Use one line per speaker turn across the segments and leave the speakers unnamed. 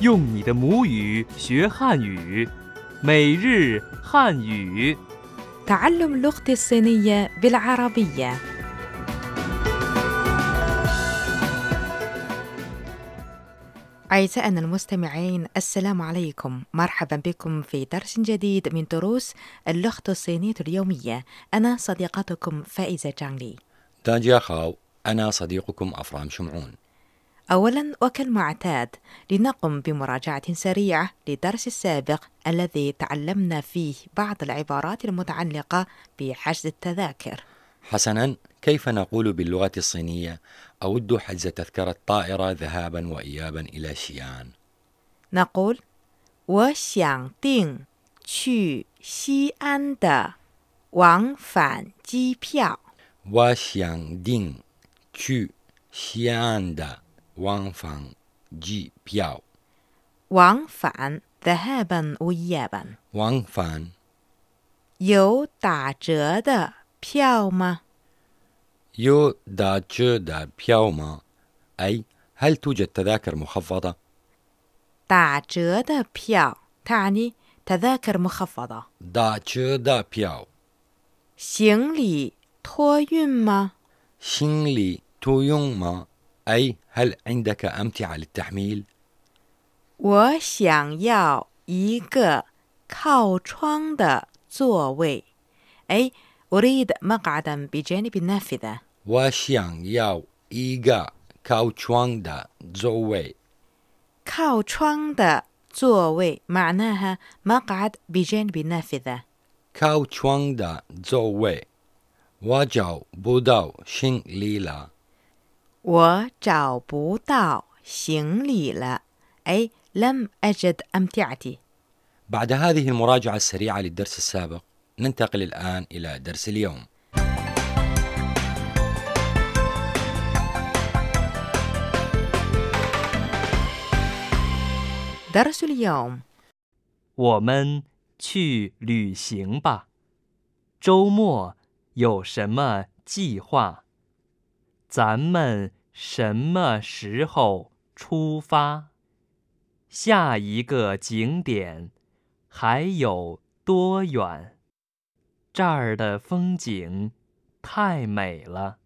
用你的母语学汉语，每日汉语。
تعلم لغتي الصينية بالعربية أعزائنا المستمعين السلام عليكم مرحبا بكم في درس جديد من دروس اللغة الصينية اليومية أنا صديقتكم فائزة جانلي
تانجيا خاو أنا صديقكم أفرام شمعون
أولا وكالمعتاد لنقم بمراجعة سريعة للدرس السابق الذي تعلمنا فيه بعض العبارات المتعلقة بحجز التذاكر
حسنا كيف نقول باللغة الصينية أود حجز تذكرة طائرة ذهابا وإيابا إلى شيان
نقول 我想订去西安的往返机票。
وشيان دين تشو شيان دا وان فان جي بياو
往返 ذهابا وإيابا
وان فان
有打折的票吗？
يو دا تشو دا بياو ما أي هل توجد تذاكر مخفضة؟
打折的票 تعني تذاكر مخفضة
دا تشو دا بياو
行李托运吗？
شينلي تو يونغ ما أي هل عندك أمتعة للتحميل؟
我想要一个靠窗的座位。أي 哎 أريد مقعدا بجانب النافذة.
وشيان ياو إيغا كاو تشوانغ دا زوي
靠窗的座位 معناها مقعد بجانب النافذة.
كاو تشوانغ دا زوي وجاو بوداو شين ليلا
我找不到行李了。أي لم أجد أمتعتي.
بعد هذه المراجعة السريعة للدرس السابق ننتقل الآن إلى درس اليوم
درس اليوم
我们去旅行吧。周末有什么计划？咱们什么时候出发？下一个景点还有多远？这儿的风景太美了。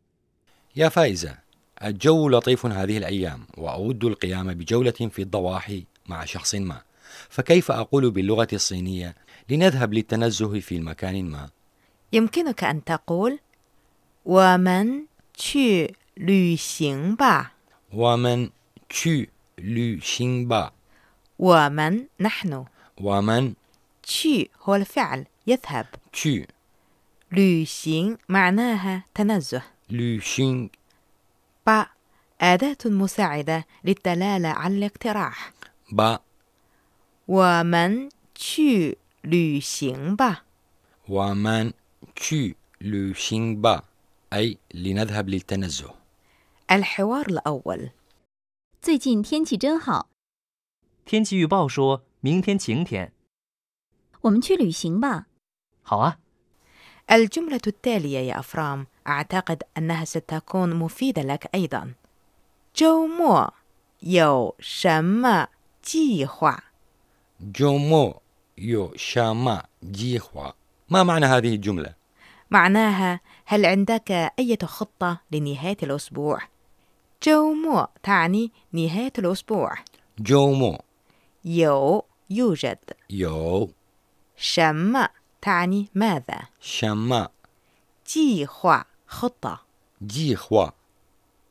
يا فائزة الجو لطيف هذه الأيام وأود القيام بجولة في الضواحي مع شخص ما فكيف أقول باللغة الصينية لنذهب للتنزه في مكان ما
يمكنك أن تقول 我们去旅行吧
ومن تشو لو شينبا
我们 نحن
ومن
去 هو الفعل يذهب
تشو
旅行 معناها تنزه
لو شين
با أداة مساعدة للدلالة على الاقتراح
با
我们去旅行吧
ومن تشو لو شينبا أي لنذهب للتنزه
الحوار الأول
最近天气真好，
天气预报说明天晴天。
我们去旅行吧。
好啊，
الجملة التالية يا أفرام أعتقد أنها ستكون مفيدة لك أيضا 周末有什么计划
جومو يو شاما جيخوا ما معنى هذه الجملة؟
معناها هل عندك أي خطة لنهاية الأسبوع؟ 周末 تعني نهاية الأسبوع
جومو
有 يوجد
يو
什么 تعني ماذا
شاما
计划 خطة
جيخوا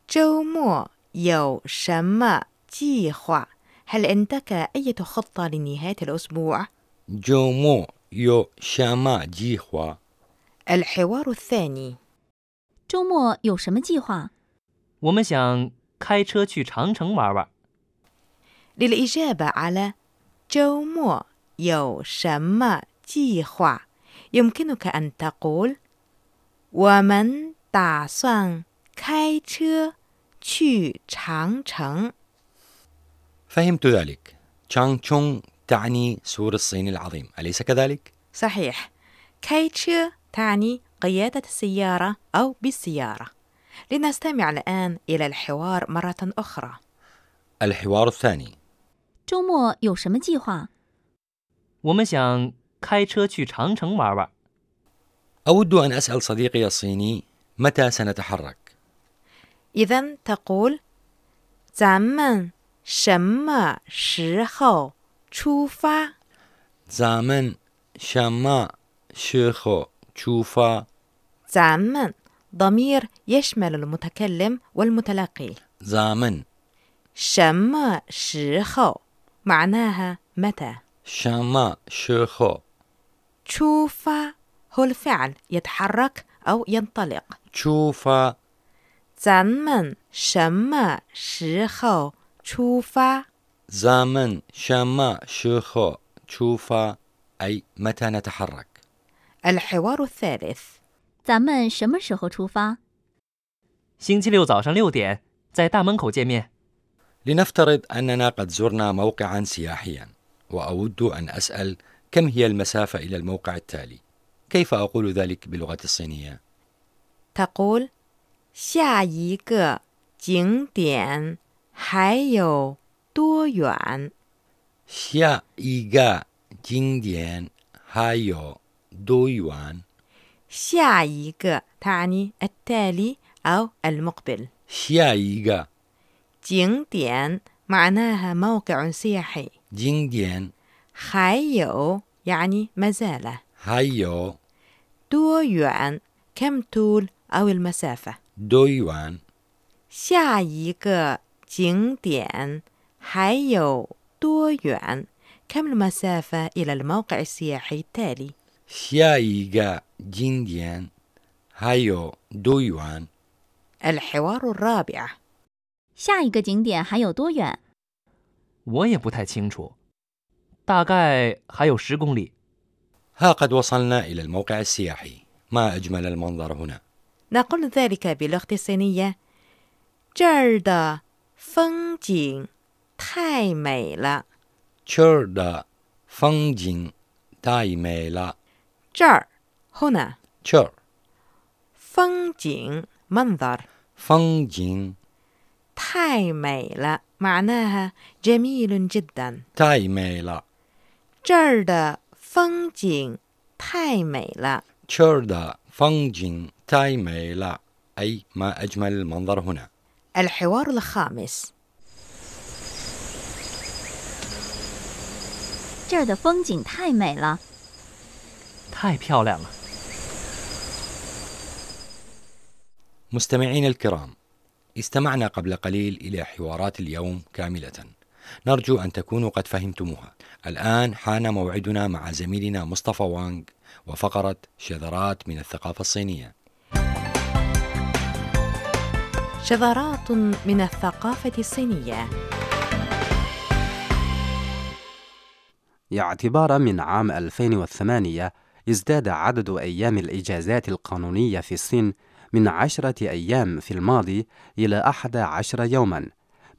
周末有什么计划 هل عندك أي خطة لنهاية الأسبوع؟
جومو يو شاما جيخوا
الحوار الثاني
周末有什么计划？
我们想开车去长城玩玩。
للإجابة على 周末有什么计划 يمكنك أن تقول 我们打算开车去长城
فهمت ذلك تشانغ تشونغ تعني سور الصين العظيم أليس كذلك؟
صحيح كايتشي تعني قيادة السيارة أو بالسيارة لنستمع الآن إلى الحوار مرة أخرى
الحوار الثاني
周末有什么计划？
我们想开车去长城玩玩。
أود أن أسأل صديقي الصيني متى سنتحرك؟
إذا تقول 咱们什么时候出发？
زامن شما شيخو تشوفا
咱们 ضمير يشمل المتكلم والمتلقي
زامن
什么时候 معناها متى
شما شيخو
تشوفا هو الفعل يتحرك أو ينطلق
تشوفا
咱们什么时候出发？
زامن شما شيخو تشوفا أي متى نتحرك
الحوار الثالث
咱们什么时候出发？
星期六早上六点在大门口见面。
لنفترض أننا قد زرنا موقعا سياحيا وأود أن أسأل كم هي المسافة إلى الموقع التالي كيف أقول ذلك باللغة الصينية؟
تقول 下一个景点还有多远？
下一个景点还有多远？
下一个 تعني التالي أو المقبل
下一个
景点معناها موقع سياحي
景点
还有 يعني ما زال
还有
يوان كم طول أو المسافة
多远？
下一个景点还有多远 كم المسافة إلى الموقع السياحي التالي
下一个景点还有多远？
الحوار الرابع
下一个景点还有多远？
我也不太清楚，大概还有十公里。
ها قد وصلنا إلى الموقع السياحي ما أجمل المنظر هنا
نقول ذلك باللغة الصينية 这儿的风景太美了
تشردا فانجين تايميلا
这儿 هنا
تشر
风景 منظر
فانجين
太美了 معناها جميل جدا
تايميلا
这儿的风景太美了
تشردا فانجين تايميلا أي ما أجمل المنظر هنا
الحوار الخامس
这儿的风景太美了。
太漂亮了！
مستمعين الكرام استمعنا قبل قليل إلى حوارات اليوم كاملة نرجو أن تكونوا قد فهمتموها الآن حان موعدنا مع زميلنا مصطفى وانغ وفقرة شذرات من الثقافة الصينية
شذرات من الثقافة الصينية
اعتبارا من عام 2008 ازداد عدد أيام الإجازات القانونية في الصين من عشرة أيام في الماضي إلى أحد عشر يوما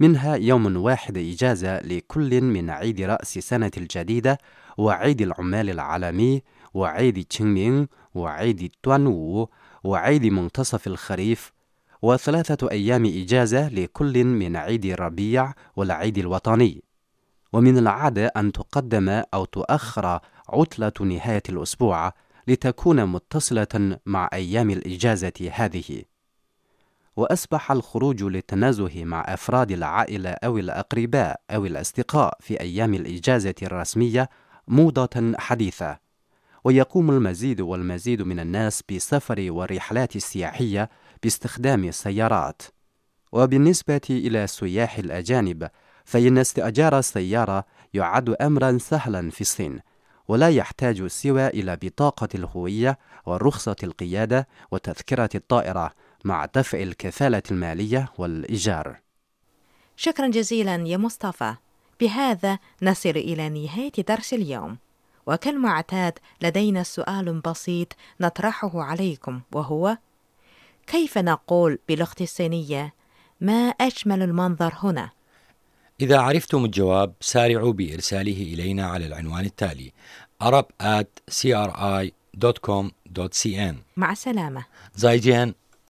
منها يوم واحد إجازة لكل من عيد رأس السنة الجديدة وعيد العمال العالمي وعيد تشينمينغ وعيد توانوو وعيد منتصف الخريف وثلاثة أيام إجازة لكل من عيد الربيع والعيد الوطني ومن العادة أن تقدم أو تؤخر عطلة نهاية الأسبوع لتكون متصلة مع أيام الإجازة هذه. وأصبح الخروج للتنزه مع أفراد العائلة أو الأقرباء أو الأصدقاء في أيام الإجازة الرسمية موضة حديثة. ويقوم المزيد والمزيد من الناس بالسفر والرحلات السياحية باستخدام السيارات. وبالنسبة إلى السياح الأجانب فإن استئجار السيارة يعد أمرا سهلا في الصين ولا يحتاج سوى إلى بطاقة الهوية ورخصة القيادة وتذكرة الطائرة مع دفع الكفالة المالية والإيجار
شكرا جزيلا يا مصطفى بهذا نصل إلى نهاية درس اليوم وكالمعتاد لدينا سؤال بسيط نطرحه عليكم وهو كيف نقول بلغة الصينية ما أجمل المنظر هنا؟
إذا عرفتم الجواب سارعوا بإرساله إلينا على العنوان التالي arab at cri.com.cn
مع السلامة
زايجين